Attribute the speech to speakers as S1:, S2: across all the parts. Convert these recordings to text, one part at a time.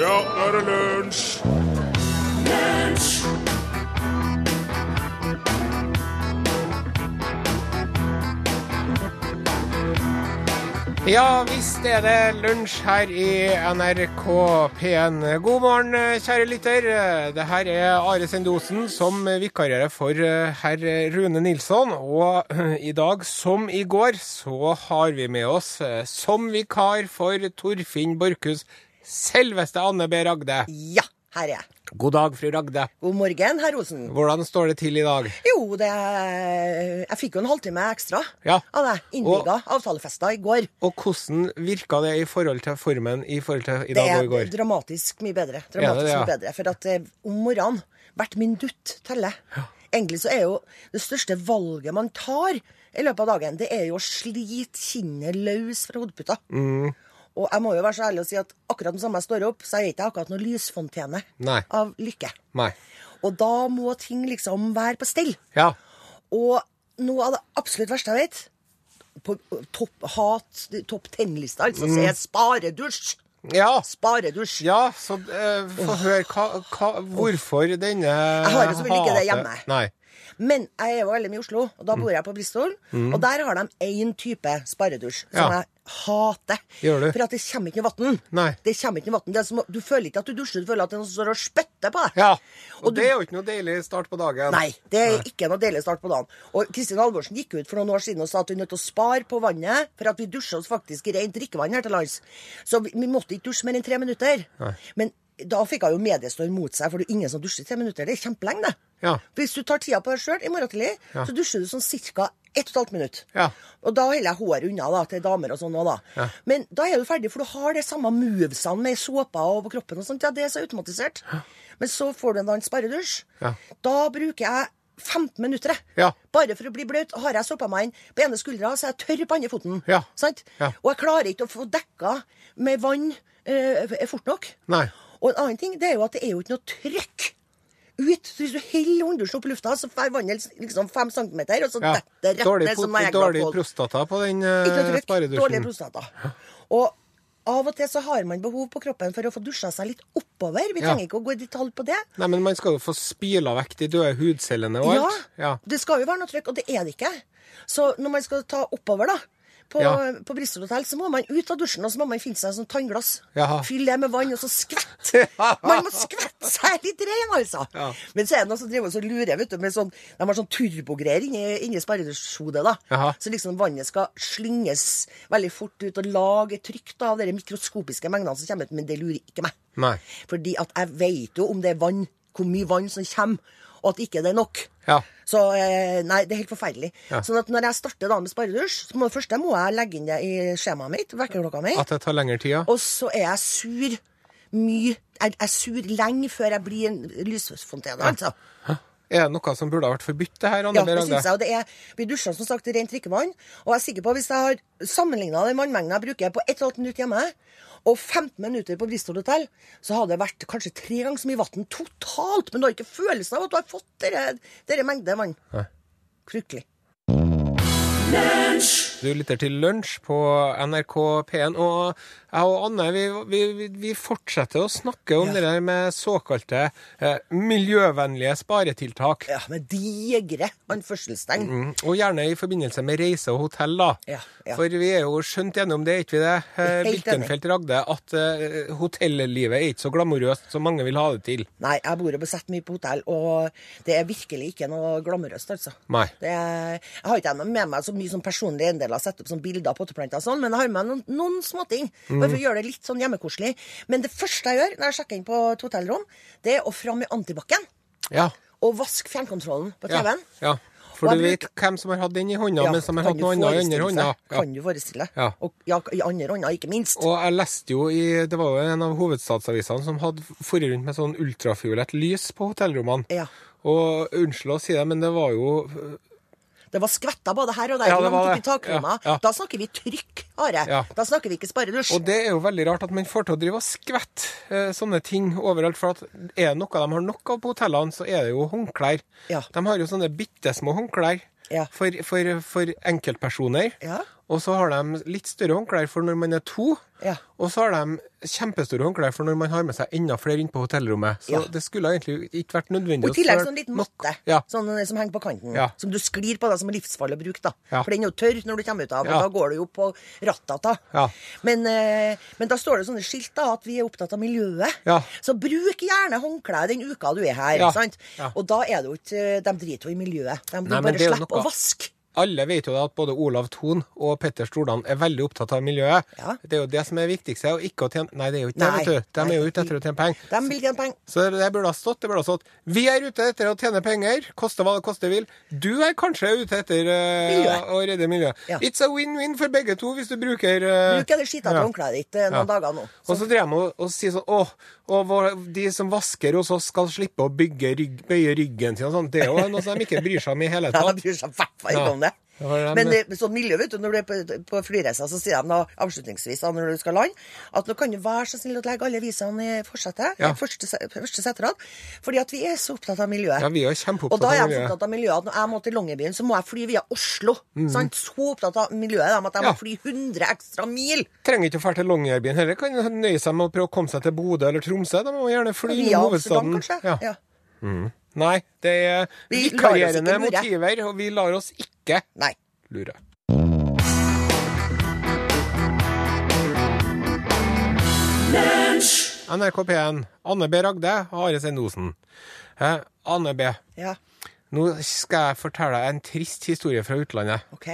S1: Ja, nå er det lunsj!
S2: Ja visst er det lunsj her i NRK P1. God morgen, kjære lytter. Det her er Are Sendosen som vikarierer for eh, herr Rune Nilsson. Og i dag, som i går, så har vi med oss eh, som vikar for Torfinn Borchhus selveste Anne B. Ragde.
S3: Ja, her er jeg.
S2: God dag, fru Ragde.
S3: God morgen, herr Osen.
S2: Hvordan står det til i dag?
S3: Jo, det Jeg fikk jo en halvtime ekstra
S2: Ja.
S3: av deg. Innvilga avtalefesta i går.
S2: Og hvordan virka det i forhold til formen i forhold til i
S3: Det
S2: dag og
S3: er
S2: i går?
S3: dramatisk mye bedre.
S2: det,
S3: Dramatisk
S2: ja?
S3: mye bedre. For at eh, om morgenen hvert minutt teller. Egentlig så er jo det største valget man tar i løpet av dagen, det er jo å slite kinnet løs fra hodeputa.
S2: Mm.
S3: Og jeg må jo være så ærlig å si at akkurat den samme jeg står opp, så er jeg ikke akkurat noen lysfontene
S2: Nei.
S3: av lykke.
S2: Nei.
S3: Og da må ting liksom være på stell.
S2: Ja.
S3: Og noe av det absolutt verste jeg vet På topp hat, topp ten-lista, altså, så er sparedusj.
S2: Ja.
S3: Sparedusj.
S2: Mm. Ja, så eh, få høre hva, hva, hvorfor denne Jeg
S3: har jo selvfølgelig ikke det hjemme.
S2: Nei.
S3: Men jeg er jo veldig mye i Oslo, og da bor
S2: Mm.
S3: jeg på Bristol. Og der har de én type sparedusj som
S2: Ja.
S3: jeg hater.
S2: Gjør du?
S3: For at det kommer ikke noe vann.
S2: Nei.
S3: Det kommer ikke noe vann. Det er som å- Du føler ikke at du dusjer, du føler at det er noen som står og spytter på deg.
S2: Ja, og,
S3: Og
S2: det er jo ikke noe deilig start på dagen.
S3: Nei, det er ikke noe deilig start på dagen. Og Kristin Halvorsen gikk ut for noen år siden og sa at vi er nødt til å spare på vannet, for at vi dusjer oss faktisk i rent drikkevann her til lands. Så vi, vi måtte ikke dusje mer enn tre minutter. Men da fikk hun jo mediestorm mot seg, for det er ingen som dusjer i tre minutter. Det er kjempelenge, det.
S2: Ja.
S3: Hvis du tar tida på deg sjøl i morgen tidlig,
S2: Ja.
S3: så dusjer du sånn ca. ett og et halvt minutt.
S2: Ja.
S3: Og da holder jeg håret unna da, til damer og sånn òg, da.
S2: Ja.
S3: Men da er du ferdig, for du har det samme movesene med såpa og på kroppen og sånt. Ja, det er så automatisert. Men så får du en annen sparedusj.
S2: Ja.
S3: Da bruker jeg 15 minutter, jeg.
S2: Ja.
S3: Bare for å bli bløt. Har jeg såpa meg inn på ene skuldra, så er jeg tørr på andre foten.
S2: Ja.
S3: Sant?
S2: Ja.
S3: Og jeg klarer ikke å få dekka med vann eh, fort nok.
S2: Nei.
S3: Og en annen ting, det er jo at det er jo ikke noe trykk ut. Så hvis du heller hånddusjen opp i lufta, så fer vannet liksom fem centimeter, og så
S2: Ja.
S3: detter det rett
S2: Dårlig,
S3: ned som
S2: pot-
S3: en egg
S2: dårlig
S3: av folk.
S2: prostata på den
S3: Ikke noe
S2: eh,
S3: trykk, dårlig
S2: sparedusjen.
S3: prostata. Og av og til så har man behov på kroppen for å få dusja seg litt oppover. Vi
S2: Ja.
S3: trenger ikke å gå i detalj på det.
S2: Nei, men man skal jo få spila vekk de døde hudcellene og
S3: Ja,
S2: alt. Ja.
S3: det skal jo være noe trykk, og det er det ikke. Så når man skal ta oppover, da, på,
S2: Ja.
S3: på Bristol hotell, så må man ut av dusjen, og så må man finne seg sånn tannglass.
S2: Jaha.
S3: Fyll det med vann, og så skvett! Man må skvette seg litt ren, altså.
S2: Ja.
S3: Men så er det noen som driver og så lurer, vet du, med sånn De har sånn turbogreier inni, inni sperredusjhodet, da.
S2: Jaha.
S3: Så liksom vannet skal slynges veldig fort ut, og lage et trykk da, av de mikroskopiske mengdene som kommer ut, men det lurer ikke meg.
S2: Nei.
S3: Fordi at jeg vet jo om det er vann, hvor mye vann som kommer, og at ikke det er nok.
S2: Ja.
S3: Så eh, nei, det er helt forferdelig.
S2: Ja.
S3: Sånn at når jeg starter da med sparedusj, så må, først må jeg legge inn det i skjemaet mitt, vekkerklokka mi,
S2: At det tar lengre tid, ja.
S3: og så er jeg sur mye Jeg jeg er sur lenge før jeg blir en lysfontene, altså.
S2: Er det noe som burde ha vært forbudt, det her? Anne
S3: Ja,
S2: B.
S3: det
S2: Ragde?
S3: synes jeg. Og det er, vi dusjer som sagt i rent drikkevann. Og jeg er sikker på, hvis jeg har sammenligna den vannmengden jeg bruker på 1 12 minutter hjemme, og 15 minutter på Bristol hotell, så hadde det vært kanskje tre ganger så mye vann totalt. Men du har ikke følelsen av at du har fått dere, dere mengde vann. Fryktelig.
S2: Du lytter til lunsj på NRK P1, og jeg og Anne vi, vi, vi- vi fortsetter å snakke om
S3: Ja.
S2: det der med såkalte eh, miljøvennlige sparetiltak.
S3: Ja, med digre anførselstegn.
S2: Mm, Og gjerne i forbindelse med reise og hotell, da.
S3: Ja, ja.
S2: For vi er jo skjønt enige om det, er ikke vi det? Eh,
S3: Helt enig.
S2: Wilkenfeldt Ragde, at eh, hotellivet er ikke så glamorøst som mange vil ha det til.
S3: Nei, jeg bor og besetter mye på hotell, og det er virkelig ikke noe glamorøst, altså.
S2: Nei.
S3: Det er, jeg har ikke med meg så mye sånn personlige eiendeler, sette opp sånn bilder av potteplanter og sånn, men jeg har med meg noen, noen småting.
S2: Mm.
S3: Bare for å gjøre det litt sånn hjemmekoselig. Men det første jeg gjør når jeg sjekker inn på et hotellrom, det er å fram i antibac-en
S2: Ja.
S3: og vaske fjernkontrollen på
S2: ja.
S3: TV-en.
S2: ja.
S3: Og
S2: For
S3: jeg
S2: du vet hvem som har hatt den i hånda,
S3: Ja,
S2: mens de har
S3: kan
S2: hatt
S3: du
S2: noe annet i andre
S3: forestille
S2: hånda.
S3: seg?
S2: Ja.
S3: Kan du forestille deg?
S2: Ja.
S3: Og, ja, I andre hånda, ikke minst.
S2: Og jeg leste jo i Det var jo en av hovedstadsavisene som hadde forrige rundt med sånn ultrafiolett lys på hotellrommene.
S3: Ja.
S2: Og unnskyld å si det, men det var jo
S3: Det var skvetta både her og der.
S2: Ja, det
S3: langt
S2: var
S3: opp
S2: det.
S3: i takrona.
S2: Ja, ja.
S3: Da snakker vi trykk, Are.
S2: Ja.
S3: Da snakker vi ikke sparedusj.
S2: Og det er jo veldig rart at man får til å drive og skvette eh, sånne ting overalt. For at er det noe de har nok av på hotellene, så er det jo håndklær.
S3: Ja.
S2: De har jo sånne bitte små håndklær
S3: Ja.
S2: for, for, for enkeltpersoner.
S3: Ja.
S2: Og så har de litt større håndklær for når man er to.
S3: Ja.
S2: Og så har de kjempestore håndklær for når man har med seg enda flere inn på hotellrommet. Så
S3: Ja.
S2: det skulle egentlig ikke vært nødvendig. å
S3: Og i tillegg
S2: søle
S3: sånn liten
S2: nok-
S3: matte
S2: Ja.
S3: sånn, eh, som henger på kanten.
S2: Ja.
S3: Som du sklir på, da, som er livsfarlig å bruke. da.
S2: Ja.
S3: For den er jo tørr når du kommer ut av den.
S2: Ja.
S3: og Da går du jo på rattata.
S2: Ja.
S3: Men, eh, men da står det sånne skilt da, at vi er opptatt av miljøet.
S2: Ja.
S3: Så bruk gjerne håndklær den uka du er her.
S2: Ja.
S3: sant?
S2: Ja.
S3: Og da er det jo ikke De driter jo i miljøet. De vil
S2: Nei, men
S3: bare
S2: det er jo
S3: slippe
S2: noe.
S3: å vaske.
S2: Alle vet jo da at både Olav Thon og Petter Stordalen er veldig opptatt av miljøet.
S3: Ja.
S2: Det er jo det som er viktigste, og ikke å tjene Nei, det er jo ikke det,
S3: Nei.
S2: vet du. De
S3: Nei.
S2: er jo ute etter å tjene penger.
S3: De vil tjene penger.
S2: Så det burde ha stått. det burde ha stått Vi er ute etter å tjene penger, koste hva det koste vil. Du er kanskje ute etter eh,
S3: Miljøet.
S2: å redde miljøet.
S3: Ja.
S2: It's a win-win for begge to hvis du bruker eh,
S3: Bruk det skitete
S2: ja.
S3: håndkleet ditt eh, noen
S2: Ja.
S3: dager nå.
S2: Og så drev jeg med å, å si sånn Å, og vår- de som vasker hos oss, skal slippe å bygge rygg, bøye ryggen sin og sånn. Det er jo noe som de ikke bryr seg om i hele
S3: Ja,
S2: tatt.
S3: de bryr seg i hvert fall ikke
S2: Ja.
S3: om det.
S2: Ja, for dem-
S3: Men det, sånn miljø, vet du, når du er på, på flyreiser, så sier de da, avslutningsvis da, når du skal lande, at nå kan du være så snill å legge alle visene i forsetet,
S2: Ja.
S3: i første, se- første seterad, fordi at vi er så opptatt av miljøet.
S2: Ja, vi er jo kjempeopptatt
S3: Og da er
S2: av
S3: jeg
S2: miljøet. Mm.
S3: så opptatt av miljøet at når jeg må til Longyearbyen, så må jeg fly via Oslo. Sant? Så opptatt av miljøet da, at jeg
S2: Ja.
S3: må fly 100 ekstra mil
S2: Trenger ikke å dra til Longyearbyen heller. Kan nøye seg med å prøve å komme seg til Bodø eller Tromsø. De må gjerne fly i
S3: via
S2: hovedstaden.
S3: Amsterdam, kanskje.
S2: Ja.
S3: Ja.
S2: Nei, det er
S3: Vi lar oss ikke
S2: vikarierende
S3: lure.
S2: motiver, og vi lar oss ikke
S3: Nei.
S2: lure. NRK P1. Anne B. Ragde, Are Sein Osen. Eh, Anne B.
S3: Ja,
S2: Nå skal jeg fortelle deg en trist historie fra utlandet,
S3: ok.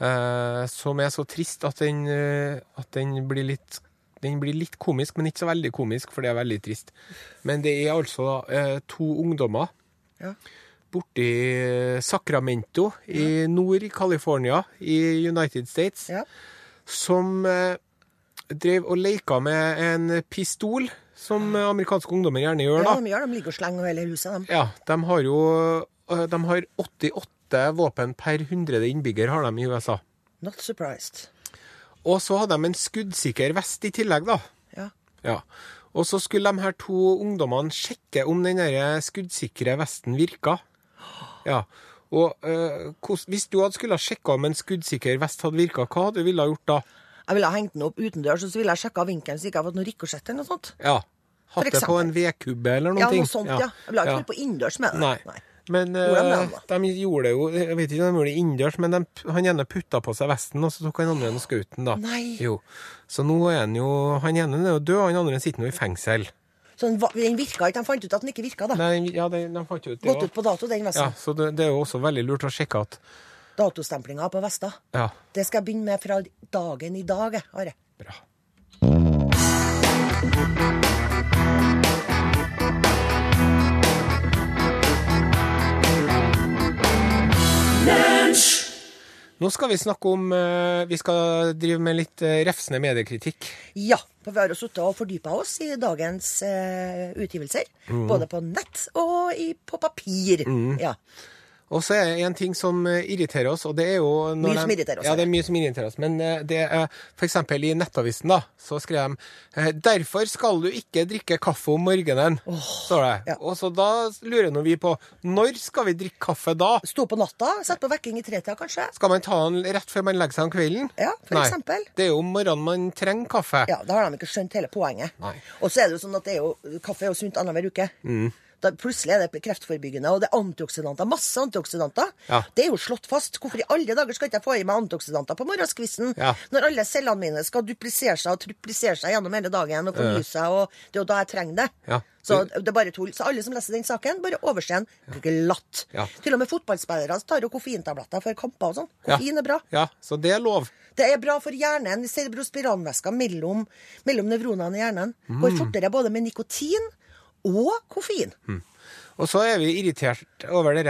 S2: eh, som er så trist at den, eh, at den blir litt den blir litt komisk, men ikke så veldig komisk, for det er veldig trist. Men det er altså eh, to ungdommer
S3: Ja.
S2: borti Sacramento i nord i California i United States
S3: Ja.
S2: som eh, drev og leka med en pistol, som eh, amerikanske ungdommer gjerne gjør,
S3: ja,
S2: da.
S3: de gjør det. De ligger og slenger over hele huset, de.
S2: Ja, de har jo eh, De har 88 våpen per 100 innbygger, har de i USA.
S3: Not surprised.
S2: Og så hadde de en skuddsikker vest i tillegg, da.
S3: Ja.
S2: Ja. Og så skulle de her to ungdommene sjekke om den der skuddsikre vesten virka. Ja. Og eh, hvordan- hvis du hadde skulle ha sjekka om en skuddsikker vest hadde virka, hva hadde du ville ha gjort da?
S3: Jeg ville ha hengt den opp utendørs, og så ville jeg sjekka vinkelen så ikke jeg har fått noe ricochet eller noe sånt.
S2: Ja. Hatt
S3: For
S2: det på
S3: eksempel.
S2: en vedkubbe eller noe.
S3: Ja, noe sånt, ja. Jeg ville ha ikke vært på innendørs med det.
S2: Nei. Men
S3: Gjorde de
S2: eh,
S3: det,
S2: de gjorde det jo Jeg vet ikke om de gjorde det innendørs, men de, han ene putta på seg vesten, og så tok han andre og skjøt den, da.
S3: Nei.
S2: Jo. Så nå er han jo Han ene er jo død, og han andre sitter nå i fengsel.
S3: Så den, va- den virka ikke. De fant ut at den ikke virka, da.
S2: Nei, ja, de, de fant jo ut det
S3: Gått
S2: også.
S3: ut på dato, den
S2: Ja,
S3: vesten.
S2: så det, det er jo også veldig lurt å sjekke at
S3: Datostemplinga på vesta.
S2: Ja,
S3: Det skal jeg begynne med fra dagen i dag, jeg, Are.
S2: bra. Nå skal vi snakke om eh, Vi skal drive med litt eh, refsende mediekritikk.
S3: Ja, for vi har jo sittet og fordypa oss i dagens eh, utgivelser.
S2: Mhm.
S3: Både på nett og i, på papir. Ja.
S2: Og så er det en ting som eh, irriterer oss, og det er jo når
S3: Mye som
S2: de-
S3: irriterer oss,
S2: Ja,
S3: ja.
S2: det er mye som irriterer oss. Men eh, det er for eksempel i Nettavisen, da, så skrev de eh, 'Derfor skal du ikke drikke kaffe om morgenen', står det.
S3: ja.
S2: Og så da lurer nå vi på når skal vi drikke kaffe da?
S3: Stå på natta, sett på vekking i tretida, kanskje.
S2: Skal man ta den rett før man legger seg om kvelden?
S3: Ja, for
S2: Nei.
S3: eksempel.
S2: Det er jo om morgenen man trenger kaffe.
S3: Ja, Da har de ikke skjønt hele poenget.
S2: Nei. Mm.
S3: Og så er det jo sånn at det er jo, kaffe er jo sunt annenhver uke. Da plutselig er det kreftforebyggende, og det er antioksidanter. Masse antioksidanter.
S2: Ja.
S3: Det er jo slått fast. Hvorfor i alle dager skal ikke jeg få i meg antioksidanter på morgenskvisten?
S2: Ja.
S3: Når alle cellene mine skal duplisere seg og triplisere seg gjennom hele dagen og fornye seg, og det er jo da jeg trenger det.
S2: Ja.
S3: Så det er bare tull. Så alle som leser den saken, bare overse den glatt.
S2: Ja.
S3: Til og med fotballspillere tar jo koffeintabletter før kamper og sånn.
S2: Ja.
S3: Koffein er bra.
S2: Ja, så det er lov.
S3: Det er bra for hjernen. Cerebrospiralvæska mellom, mellom nevronene i hjernen
S2: Mm.
S3: går fortere både med nikotin og koffein.
S2: Og så er vi irritert over de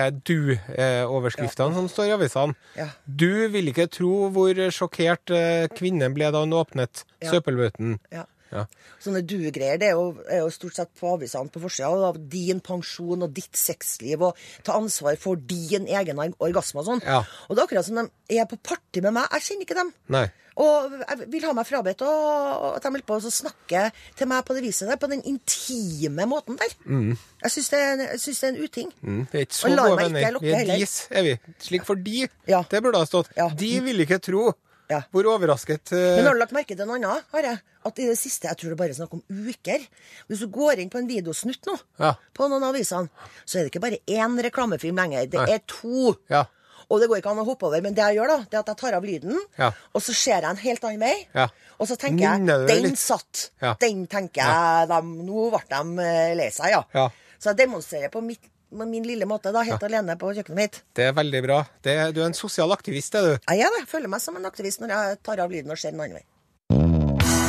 S2: du-overskriftene eh, som står i avisene.
S3: Ja.
S2: Du vil ikke tro hvor sjokkert eh, kvinnen ble da hun åpnet
S3: Ja.
S2: søppelbøtten.
S3: Ja.
S2: Ja.
S3: Sånne du-greier det er jo, er jo stort sett på avisene på forsida. og Av din pensjon og ditt sexliv og ta ansvar for din egen orgasme og sånn.
S2: Ja.
S3: Og det er akkurat som de er på party med meg. Jeg kjenner ikke dem.
S2: Nei.
S3: Og jeg vil ha meg frabedt og og at de holder på å snakke til meg på det viset der, på den intime måten der. Jeg syns det, er en- jeg synes det er en uting.
S2: Mm, Vi er ikke så
S3: Og lar
S2: gode
S3: meg ikke
S2: venner.
S3: lokke
S2: Vi er
S3: heller.
S2: dis, er vi. Slik for de.
S3: Ja.
S2: Det burde ha stått.
S3: Ja.
S2: De vil ikke tro.
S3: Ja.
S2: Hvor overrasket eh,
S3: Men har du lagt merke til en annen, har jeg? At i det siste, jeg tror det bare er snakk om uker Hvis du går inn på en videosnutt nå,
S2: Ja.
S3: på noen av avisene, så er det ikke bare én reklamefilm lenger. Det
S2: Nei.
S3: er to.
S2: Ja.
S3: Og det går ikke an å hoppe over. Men det jeg gjør, da, det er at jeg tar av lyden,
S2: Ja.
S3: og så ser jeg en helt annen vei.
S2: Ja.
S3: Og så tenker jeg
S2: Nynner du
S3: Den
S2: litt?
S3: satt.
S2: Ja.
S3: Den tenker jeg dem, Nå ble de eh, lei seg, ja.
S2: Ja.
S3: Så jeg demonstrerer på mitt, på min lille måte, da, helt alene på kjøkkenet mitt.
S2: Det er veldig bra. Det, du er en sosial aktivist, er du.
S3: Jeg er det. Jeg føler meg som en aktivist når jeg tar av lyden og ser en annen vei.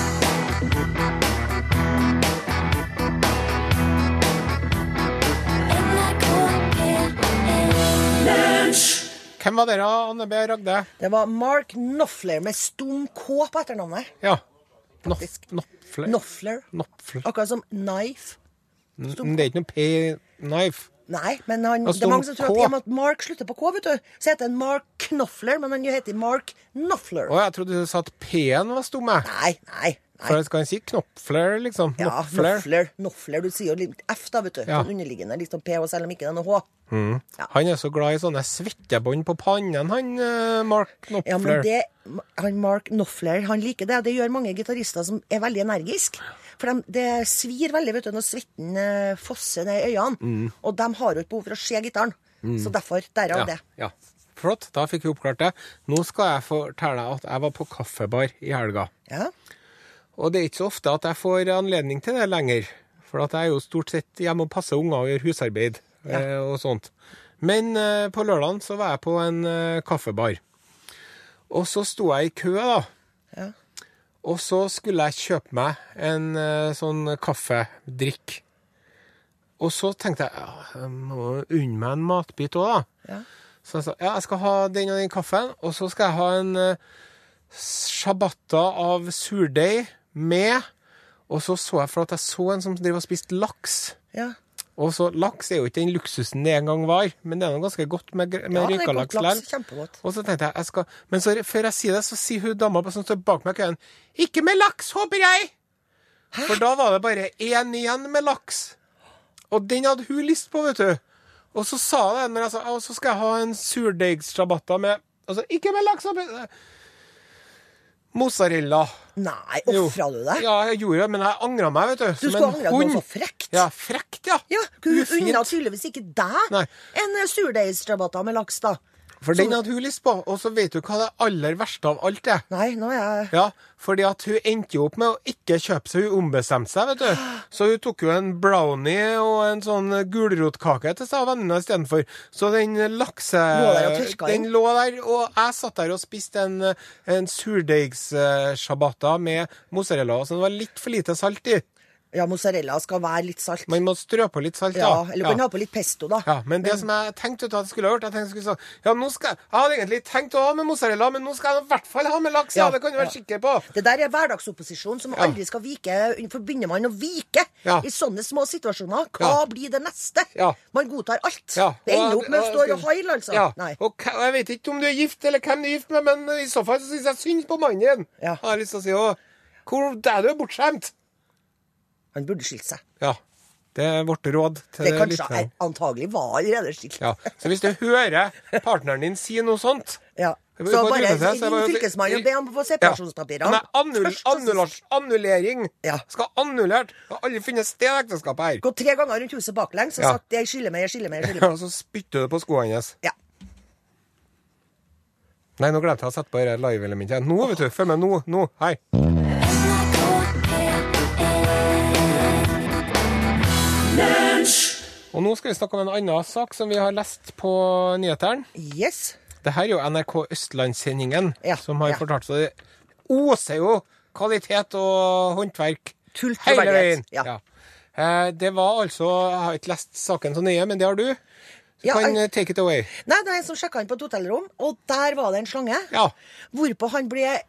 S2: Hvem var dere, Anne B. Ragde?
S3: Det var Mark Knopfler med stum K på etternavnet.
S2: Ja. Noff, noffle.
S3: Knopfler.
S2: Noffle.
S3: Akkurat som Knife.
S2: Men Mm, det er ikke noe P-knife.
S3: Nei, men han,
S2: Altså,
S3: det er mange som
S2: stum
S3: tror at, i
S2: K.
S3: og med at Mark slutter på K, vet du. Så heter han Mark Knopfler, men han heter Mark Knopfler.
S2: Å, jeg trodde du sa at P-en var stum, jeg.
S3: Nei, nei. nei.
S2: For skal en si knopfler, liksom?
S3: Ja,
S2: Knopfler.
S3: Knopfler. Knopfler. Du sier jo litt F, da, vet du.
S2: Ja.
S3: Sånn underliggende, litt sånn P, og selv om ikke det er noe H.
S2: Han er så glad i sånne svettebånd på pannen, han eh, Mark Knopfler.
S3: Ja, men det, han Mark Knopfler han liker det. Det gjør mange gitarister som er veldig energiske. For de, det svir veldig vet du, når svetten eh, fosser ned i øynene. Og de har jo ikke behov for å se gitaren. Så derfor
S2: Mm.
S3: derav
S2: ja,
S3: det.
S2: ja. Flott, da fikk vi oppklart det. Nå skal jeg fortelle deg at jeg var på kaffebar i helga.
S3: Ja.
S2: Og det er ikke så ofte at jeg får anledning til det lenger. For at jeg er jo stort sett hjemme og passer unger og gjør husarbeid eh, og sånt. Men eh, på lørdagen så var jeg på en eh, kaffebar. Og så sto jeg i kø, da.
S3: Ja.
S2: Og så skulle jeg kjøpe meg en eh, sånn kaffedrikk. Og så tenkte jeg ja, jeg må unne meg en matbit òg, da.
S3: Ja.
S2: Så jeg sa ja, jeg skal ha den og den kaffen, og så skal jeg ha en eh, sjabatta av surdeig med Og så så jeg for at jeg så en som driver og spiste laks.
S3: ja.
S2: Og så Laks er jo ikke den luksusen det en gang var, men det er noe ganske godt med, gr- med
S3: Ja, det er godt
S2: røykalaks
S3: laks.
S2: likevel.
S3: Kjempegodt.
S2: Og så tenkte jeg, jeg skal Men så, før jeg sier det, så sier hun dama som står bak meg i køen, 'Ikke med laks, håper jeg!' For da var det bare én igjen med laks. Og den hadde hun lyst på, vet du. Og så sa jeg det, men jeg sa, «Å, så skal jeg ha en surdeigsrabatta med Altså, ikke med laks, håper jeg! Mozzarella.
S3: Nei,
S2: Jo.
S3: ofra du deg?
S2: Ja, jeg gjorde det, men jeg angra meg, vet du.
S3: Du skulle angre på noe så frekt.
S2: Ja, frekt, ja.
S3: Ja, Hun
S2: Ufint.
S3: unna tydeligvis ikke deg
S2: Nei.
S3: en eh, surdeigsrabatta med laks, da.
S2: For den hadde hun lyst på. Og så vet du hva det aller verste av alt er?
S3: Nei, nå er jeg
S2: Ja, fordi at hun endte jo opp med å ikke kjøpe seg, hun ombestemte seg, vet du. Så hun tok jo en brownie og en sånn gulrotkake til seg og vennene istedenfor. Så den lakse...
S3: Lå der og tørka
S2: den
S3: inn.
S2: lå der, og jeg satt der og spiste en, en surdeigssjabatta med mozzarella, så det var litt for lite salt i.
S3: Ja, mozzarella skal være litt salt.
S2: Man må strø på litt salt,
S3: ja,
S2: da.
S3: eller du kan ha på litt pesto, da.
S2: Ja, men det som jeg tenkte ut at jeg skulle ha gjort Jeg tenkte jeg skulle sånn Ja, nå skal jeg Jeg hadde egentlig tenkt å ha med mozzarella, men nå skal jeg i hvert fall ha med laks. Ja,
S3: Ja,
S2: det kan du være
S3: ja.
S2: sikker på.
S3: Det der er hverdagsopposisjon som aldri skal vike. Forbinder man å vike
S2: Ja.
S3: i sånne små situasjoner? Hva
S2: Ja.
S3: blir det neste?
S2: Ja.
S3: Man godtar alt.
S2: Ja.
S3: Det ender opp med å stå og haile, altså.
S2: Ja.
S3: Nei.
S2: Og hva- jeg vet ikke om du er gift, eller hvem du er gift med, men i så fall så syns jeg synd på mannen din.
S3: Ja.
S2: Har jeg lyst til å si òg. Hvor er du er bortskjemt?
S3: Han burde skilt seg.
S2: Ja. Det er vårt råd til
S3: Det kanskje
S2: lytterne.
S3: er, antagelig var allerede skilt.
S2: Ja. Så hvis du hører partneren din si noe sånt
S3: Ja.
S2: Jeg
S3: Så
S2: får
S3: bare
S2: trøste seg, så jeg
S3: ring
S2: bare-
S3: fylkesmannen og be ham få
S2: Ja.
S3: separasjonspapirene.
S2: Nei, annul,
S3: Først og sist.
S2: annullas- annullering.
S3: Ja.
S2: Skal annullert. Har aldri funnet sted i ekteskapet her.
S3: Gå tre ganger rundt huset baklengs og
S2: Ja.
S3: sagt 'jeg skylder meg, jeg skylder meg'. Jeg skylder meg.
S2: Og så spytter du på skoene hennes.
S3: Ja.
S2: Nei, nå glemte jeg å sette på dette live-elementet. Nå, vet du. Følg med nå. Nå. Hei. Og nå skal vi snakke om en annen sak som vi har lest på nyhetene.
S3: Yes.
S2: Det her er jo NRK Østlandssendingen
S3: Ja,
S2: som har
S3: ja.
S2: fortalt, så det oser jo kvalitet og håndverk
S3: Tull til
S2: hele
S3: verdighet,
S2: veien.
S3: ja.
S2: Eh, Det var altså Jeg har ikke lest saken så nøye, men det har du. Du
S3: Ja,
S2: kan
S3: jeg-
S2: eh, take it away.
S3: Nei, det er en som sjekka inn på et hotellrom, og der var det en slange.
S2: Ja.
S3: Hvorpå han ble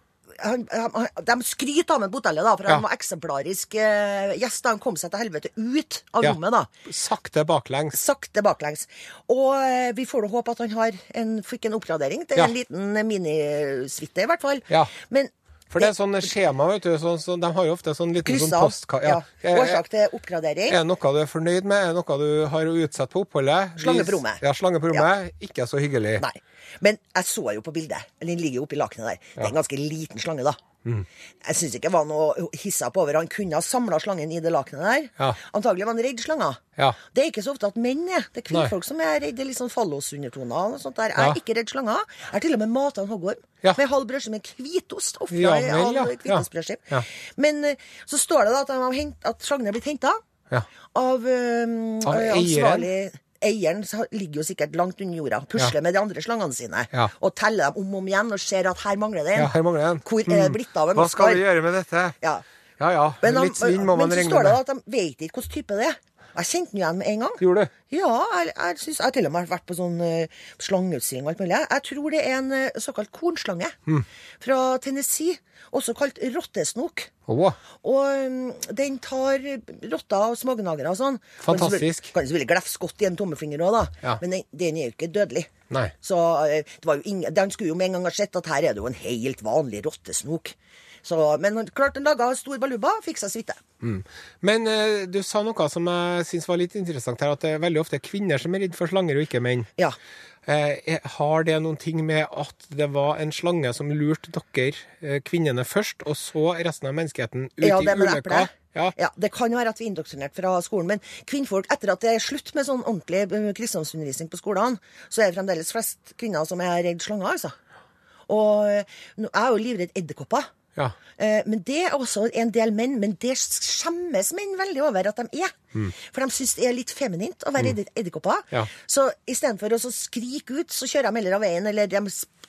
S3: han, han, De skryter av ham på hotellet, da, for
S2: Ja.
S3: han var eksemplarisk eh, gjest. da Han kom seg til helvete ut av
S2: Ja.
S3: rommet, da.
S2: Sakte baklengs.
S3: Sakte baklengs. Og eh, vi får da håpe at han har en, fikk en oppgradering til
S2: Ja.
S3: en liten minisuite, i hvert fall.
S2: Ja.
S3: Men
S2: For det er sånne skjema, vet du. Sånn- sånn- de har jo ofte sånn liten
S3: Kryss
S2: sånn
S3: av.
S2: postkasse
S3: Ja. Årsak
S2: Er
S3: til oppgradering.
S2: det noe du er fornøyd med? Er det noe du har å utsette på oppholdet?
S3: Slange på
S2: Vis-
S3: rommet.
S2: Ja, slange på rommet. Ikke så hyggelig.
S3: Nei. Men jeg så jo på bildet. Den ligger jo oppi lakenet der. Det er en ganske liten slange, da.
S2: Mm.
S3: Jeg syns ikke det var noe hissa på over. Han kunne ha samla slangen i det lakenet der.
S2: Ja.
S3: Antagelig var han redd slanger.
S2: Ja.
S3: Det er ikke så ofte at menn er. Det er
S2: Nei.
S3: kvinnfolk som er redd. Det er litt sånn fallosundertoner og sånt der. Jeg
S2: Ja.
S3: er ikke redd slanger. Jeg har til og med mata en hoggorm
S2: Ja.
S3: med halv brødskive med hvitost. Ofte
S2: Ja,
S3: er
S2: vel, ja.
S3: halv hvitostbrødskive.
S2: Ja.
S3: Men eh, så står det da at, de har hent, at slangen er blitt henta
S2: Ja.
S3: av, um,
S2: Av eieren?
S3: ansvarlig Eieren sa- ligger jo sikkert langt under jorda, pusler
S2: Ja.
S3: med de andre slangene sine
S2: Ja.
S3: og teller dem om og om igjen og ser at her mangler det en.
S2: Ja, her mangler en. Mm.
S3: Hvor er det blitt av en
S2: Hva skal
S3: Oscar?
S2: vi gjøre med dette?
S3: Ja.
S2: Ja ja,
S3: Men, han,
S2: litt svinn må man
S3: men så
S2: regne
S3: står det da
S2: med.
S3: at de vet ikke hvilken type det er. Jeg kjente den igjen med en gang.
S2: Gjorde du?
S3: Ja, jeg, jeg, synes, jeg har til og med vært på sånn uh, slangeutstilling og alt mulig. Jeg tror det er en eh, såkalt kornslange
S2: Mm.
S3: fra Tennessee, også kalt rottesnok.
S2: Å,
S3: Og um, den tar rotter og smågnagere og sånn.
S2: Fantastisk.
S3: Kan jo selvfølgelig glefse godt i en tommefinger òg, da.
S2: Ja.
S3: Men den, den er jo ikke dødelig.
S2: Nei.
S3: Så eh, det var jo ingen, den skulle jo med en gang ha sett at her er det jo en helt vanlig rottesnok. Så, men han- klart den laga stor baluba, fikk seg suite.
S2: Mm. Men eh, du sa noe som jeg syns var litt interessant her, at det er veldig ofte er kvinner som er redd for slanger, og ikke menn.
S3: Ja.
S2: Eh, er- har det noen ting med at det var en slange som lurte dere, eh, kvinnene, først, og så resten av menneskeheten ut
S3: Ja,
S2: i
S3: det med det
S2: ulykka?
S3: eplet.
S2: Ja.
S3: Ja, det kan jo være at vi er indoktrinert fra skolen, men kvinnfolk, etter at det er slutt med sånn ordentlig eh, kristendomsundervisning på skolene, så er det fremdeles flest kvinner som er redd slanger, altså. Og eh, nå- jeg er jo livredd edderkopper.
S2: ja.
S3: Eh, Men det er også en del menn, men det skjemmes menn veldig over at de er. For de syns det er litt feminint å være edder- edderkopper.
S2: Ja.
S3: Så istedenfor å så skrike ut, så kjører de heller av veien, eller de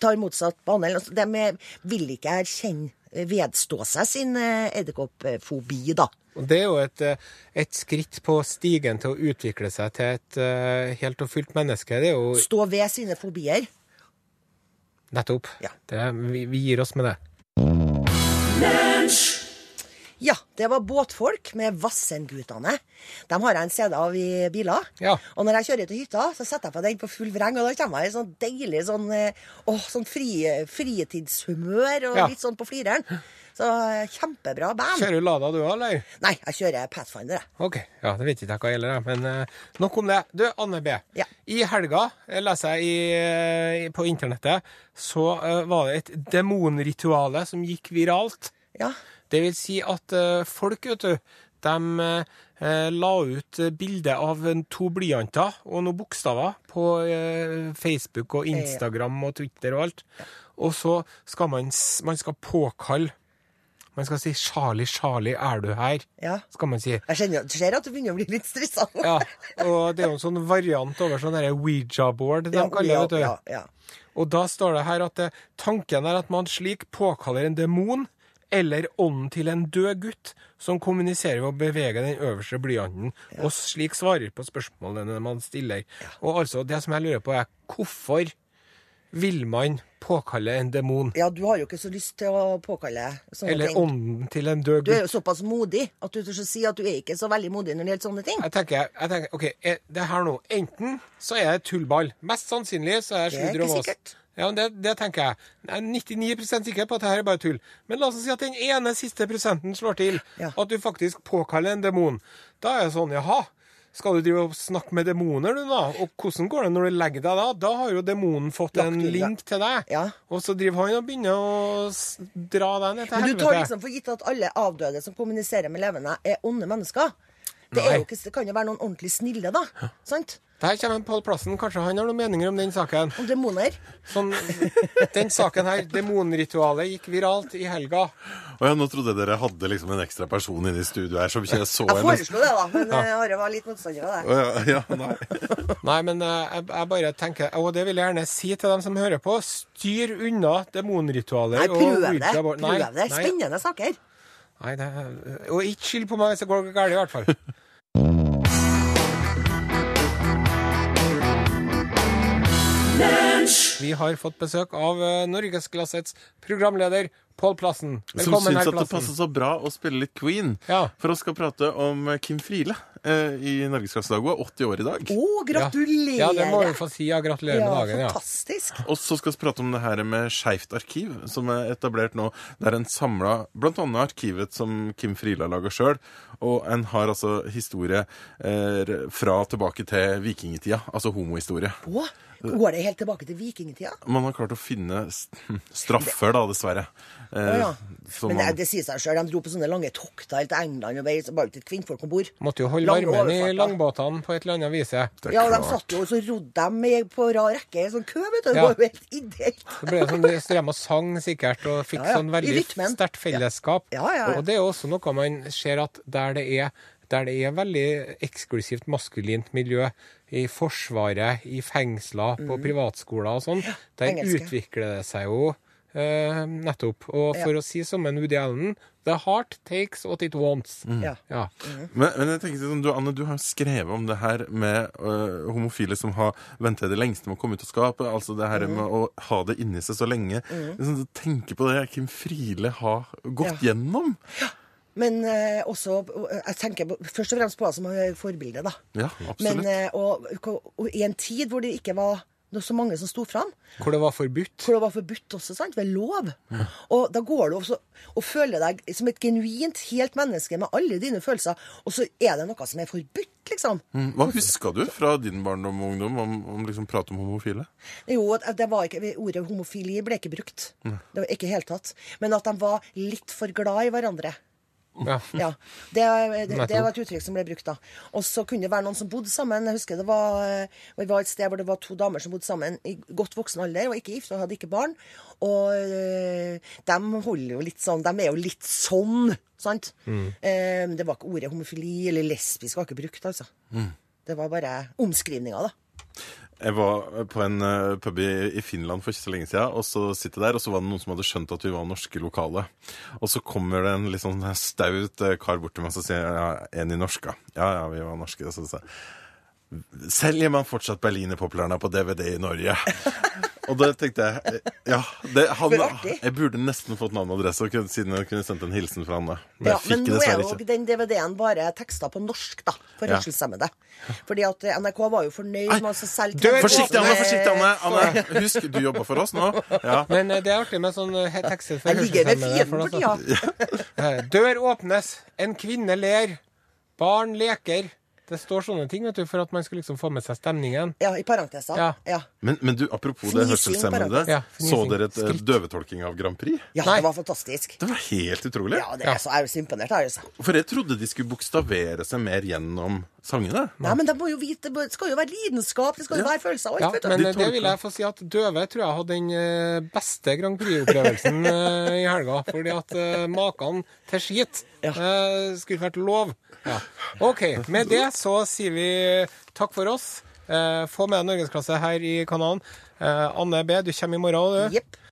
S3: tar motsatt bane. eller noe sånt. De eh, vil ikke erkjenne vedstå seg sin eh, edderkoppfobi, da.
S2: Og det er jo et, eh, et skritt på stigen til å utvikle seg til et eh, helt og fullt menneske. Det er jo
S3: Stå ved sine fobier.
S2: nettopp.
S3: Ja.
S2: Det, er- vi, vi gir oss med det.
S3: Ja, det var båtfolk med Vassendgutane. Dem har jeg en CD av i biler.
S2: Ja.
S3: Og når jeg kjører til hytta, så setter jeg på den på full vreng, og da kommer jeg i sånn deilig sånn, eh, åh, sånn fri, fritidshumør, og
S2: Ja.
S3: litt sånn på flireren. Så eh, kjempebra band.
S2: Kjører du Lada du òg, eller?
S3: Nei, jeg kjører Pathfinder, jeg.
S2: Ok, ja, Det vet ikke jeg hva gjelder, jeg, men eh, nok om det. Du, Anne B.
S3: Ja.
S2: I helga, eh, leser jeg i, eh, på internettet, så eh, var det et demonrituale som gikk viralt.
S3: Ja.
S2: Det vil si at eh, folk, vet du, de eh, la ut eh, bilde av en- to blyanter og noen bokstaver på eh, Facebook og Instagram og Twitter og alt. Og så skal man, s- man skal påkalle Man skal si 'Charlie, Charlie, er du her?'
S3: Ja.
S2: skal man si.
S3: Jeg kjenner, ser at du begynner å bli litt stressa.
S2: Ja, og det er jo en sånn variant over sånn derre Ouija-board de kaller det, vet du.
S3: ja, ja.
S2: Og da står det her at eh, tanken er at man slik påkaller en demon eller ånden til en død gutt som kommuniserer ved å bevege den øverste blyanten, og slik svarer på spørsmålene man stiller. Og altså, det som jeg lurer på, er hvorfor vil man påkalle en demon?
S3: ja, du har jo ikke så lyst til å påkalle sånne
S2: Eller
S3: ting.
S2: ånden til en død
S3: Du
S2: gutt?
S3: er jo såpass modig at du tør å si at du er ikke så veldig modig når det gjelder sånne ting.
S2: Jeg tenker, jeg tenker OK, er det her nå Enten så er det tullball. Mest sannsynlig så er det
S3: Det er
S2: sludder og
S3: ikke
S2: vas.
S3: sikkert.
S2: Ja, men det, det tenker jeg. Jeg er 99 sikker på at det her er bare tull. Men la oss si at den ene siste prosenten slår til.
S3: Ja.
S2: At du faktisk påkaller en demon. Da er det sånn, jaha. Skal du drive og snakke med demoner, du, da? Og hvordan går det når du legger deg da? Da har jo demonen fått
S3: Lagt
S2: en
S3: under.
S2: link til deg.
S3: Ja.
S2: Og så driver han og begynner å s- dra deg ned til
S3: Men
S2: helvete.
S3: du tar liksom for gitt at alle avdøde som kommuniserer med levende, er onde mennesker. Det,
S2: Nei.
S3: er jo ikke, det kan jo være noen ordentlig snille, da. Sant?
S2: Der kommer Pål Plassen. Kanskje han har noen meninger om den saken.
S3: Om demoner.
S2: Sånn, den saken her, demonritualet, gikk viralt i helga.
S4: Og ja, nå trodde jeg dere hadde liksom en ekstra person inne i studio her som ikke jeg så
S3: Jeg
S4: en
S3: foreslo det, da, men eh, Are var litt motstander av det.
S4: Å, ja, ja, nei.
S2: Nei, men eh, jeg, jeg bare tenker Og det vil jeg gjerne si til dem som hører på. Styr unna demonritualer.
S3: Nei, prøv
S2: og
S3: det.
S2: Ouija board. Nei,
S3: Prøv det.
S2: Nei,
S3: Spennende saker.
S2: nei, det, er- og ikke skyld på meg hvis det går galt, i hvert fall. Vi har fått besøk av eh, Norgesklassets programleder Pål Plassen.
S4: Som
S2: Velkommen,
S4: syns
S2: herr
S4: at det
S2: Plassen.
S4: passer så bra å spille litt Queen.
S2: Ja.
S4: For vi skal prate om eh, Kim Friele eh, i Norgesklasse Hun er 80 år i dag.
S3: Å, gratulerer!
S2: Ja, det må vi få si. Ja, gratulerer med
S3: Ja,
S2: dagen. ja.
S3: Fantastisk.
S4: Og så skal vi prate om det her med Skeivt arkiv, som er etablert nå. Det er en samla Blant annet arkivet som Kim Friele har laga sjøl. Og en har altså historie eh, fra tilbake til vikingtida. Altså homohistorie.
S3: Å, går det helt tilbake til vikingtida?
S4: Man har klart å finne s- straffer, da, dessverre. Eh,
S3: Å ja.
S4: som
S3: Men det,
S4: man-
S3: det sier seg sjøl, de dro på sånne lange tokter helt til England og vei, så bare til kvinnfolk om bord.
S2: Måtte jo holde
S3: Lange
S2: varmen i
S3: overfarter.
S2: langbåtene på et eller annet vis. ja.
S4: det er
S3: Ja, og de
S4: klart.
S3: satt jo og så rodde de i- på rad rekke i en sånn kø, vet du. Det
S2: Ja.
S3: var jo helt ideelt.
S2: Det ble sånn, De strøm og sang sikkert, og fikk
S3: Ja, ja.
S2: sånn
S3: I
S2: veldig
S3: rytmen.
S2: sterkt fellesskap.
S3: Ja, ja, ja.
S2: Og det er jo også noe man ser at der det er der det er veldig eksklusivt maskulint miljø, i Forsvaret, i fengsler, på privatskoler og sånn, der
S3: Mm. engelske.
S2: utvikler det seg jo eh, nettopp. Og for å si som en Woody Allen The heart takes what it wants.
S3: Ja.
S2: Ja.
S3: Mm.
S4: Men, men jeg tenkte sånn, du, Anne, du har jo skrevet om det her med øh, homofile som har ventet det lengste med å komme ut av skapet. Altså det her
S3: Mm.
S4: med å ha det inni seg så lenge. Liksom, tenke på det Kim Friele har gått gjennom.
S3: Men eh, også eh, Jeg tenker på- først og fremst på henne som eh, forbilde, da.
S4: Ja,
S3: Men,
S4: absolutt.
S3: eh, og, og, og i en tid hvor det ikke var noe så mange som sto fram,
S2: Hvor det var forbudt.
S3: for det var forbudt også, sant? ved lov. Og da går du også og føler deg som et genuint helt menneske med alle dine følelser, og så er det noe som er forbudt, liksom.
S4: Mm. Hva husker du fra din barndom og ungdom om, om liksom prat om homofile?
S3: Jo, at det var ikke, Ordet homofili ble ikke brukt. Det var ikke i hele tatt. Men at de var litt for glad i hverandre.
S2: Ja.
S3: Ja, det, det, det
S2: Nettopp.
S3: var et uttrykk som ble brukt da. Og så kunne det være noen som bodde sammen. Jeg husker det var, eh, Vi var et sted hvor det var to damer som bodde sammen i godt voksen alder, og ikke gift og hadde ikke barn. Og eh, de holder jo litt sånn, de er jo litt sånn, sant?
S4: Mm.
S3: Eh, Det var ikke ordet homofili eller lesbisk var ikke brukt, altså. Det var bare omskrivninger, da.
S4: Jeg var på en eh, pub i, i Finland for ikke så lenge siden, og så sitter jeg der, og så var det noen som hadde skjønt at vi var norske lokale. Og så kommer det en litt sånn staut eh, kar bort til meg, og så sier jeg, ja, en i norska. Ja, ja, vi var norske. Og så sa jeg, selger man fortsatt Berlinerpoplerne på DVD i Norge? Og det tenkte jeg, eh, ja, det, han,
S3: For artig.
S4: jeg burde nesten fått navn og adresse, og kunne- siden jeg kunne sendt en hilsen fra han da. Men
S3: Ja, men
S4: jeg fikk
S3: nå
S4: det
S3: er
S4: dessverre
S3: jo
S4: ikke.
S3: den DVD-en bare tekster på norsk, da. For
S4: Ja.
S3: hørselshemmede. Fordi at eh, NRK var jo fornøyd med å selge
S2: dør-
S4: Forsiktig, Anne,
S3: Nei,
S4: forsiktig, Anne. Anne, husk, du jobber for oss nå. Ja.
S2: Men eh, det er artig med sånn eh, tekster for
S3: Jeg ligger ved
S2: hørselshemmede,
S3: fienden
S2: for
S3: for
S2: altså-
S3: tida.
S2: Eh, Dør åpnes, en kvinne ler, barn leker. Det står sånne ting vet du, for at man skal liksom få med seg stemningen.
S3: Ja, i parenteser.
S2: Ja.
S3: Ja. Ja.
S4: Men, men du, apropos det
S3: Fnising,
S4: hørselshemmede,
S3: parentes.
S2: Ja,
S4: så
S2: fnising.
S4: dere et eh,
S2: Skrik.
S4: døvetolking av Grand Prix?
S2: Nei.
S3: det var fantastisk.
S4: Det var helt utrolig.
S3: Ja, det er så, jeg er jo så imponert. jeg, Altså.
S4: For jeg trodde de skulle bokstavere seg mer gjennom sangene.
S3: Nei, men de må jo vite, det skal jo være lidenskap, det skal jo være følelser og
S2: Ja,
S3: alt,
S2: men
S3: vet du.
S2: eh, det vil jeg få si at døve tror jeg hadde den eh, beste Grand Prix-opplevelsen eh, i helga. Fordi at eh, maken til skit eh, skulle vært lov. Ja. OK. Med det så sier vi takk for oss. Eh, Få med deg norgesklasse her i kanalen. Eh, Anne B, du kommer i morgen, du.
S3: Jepp.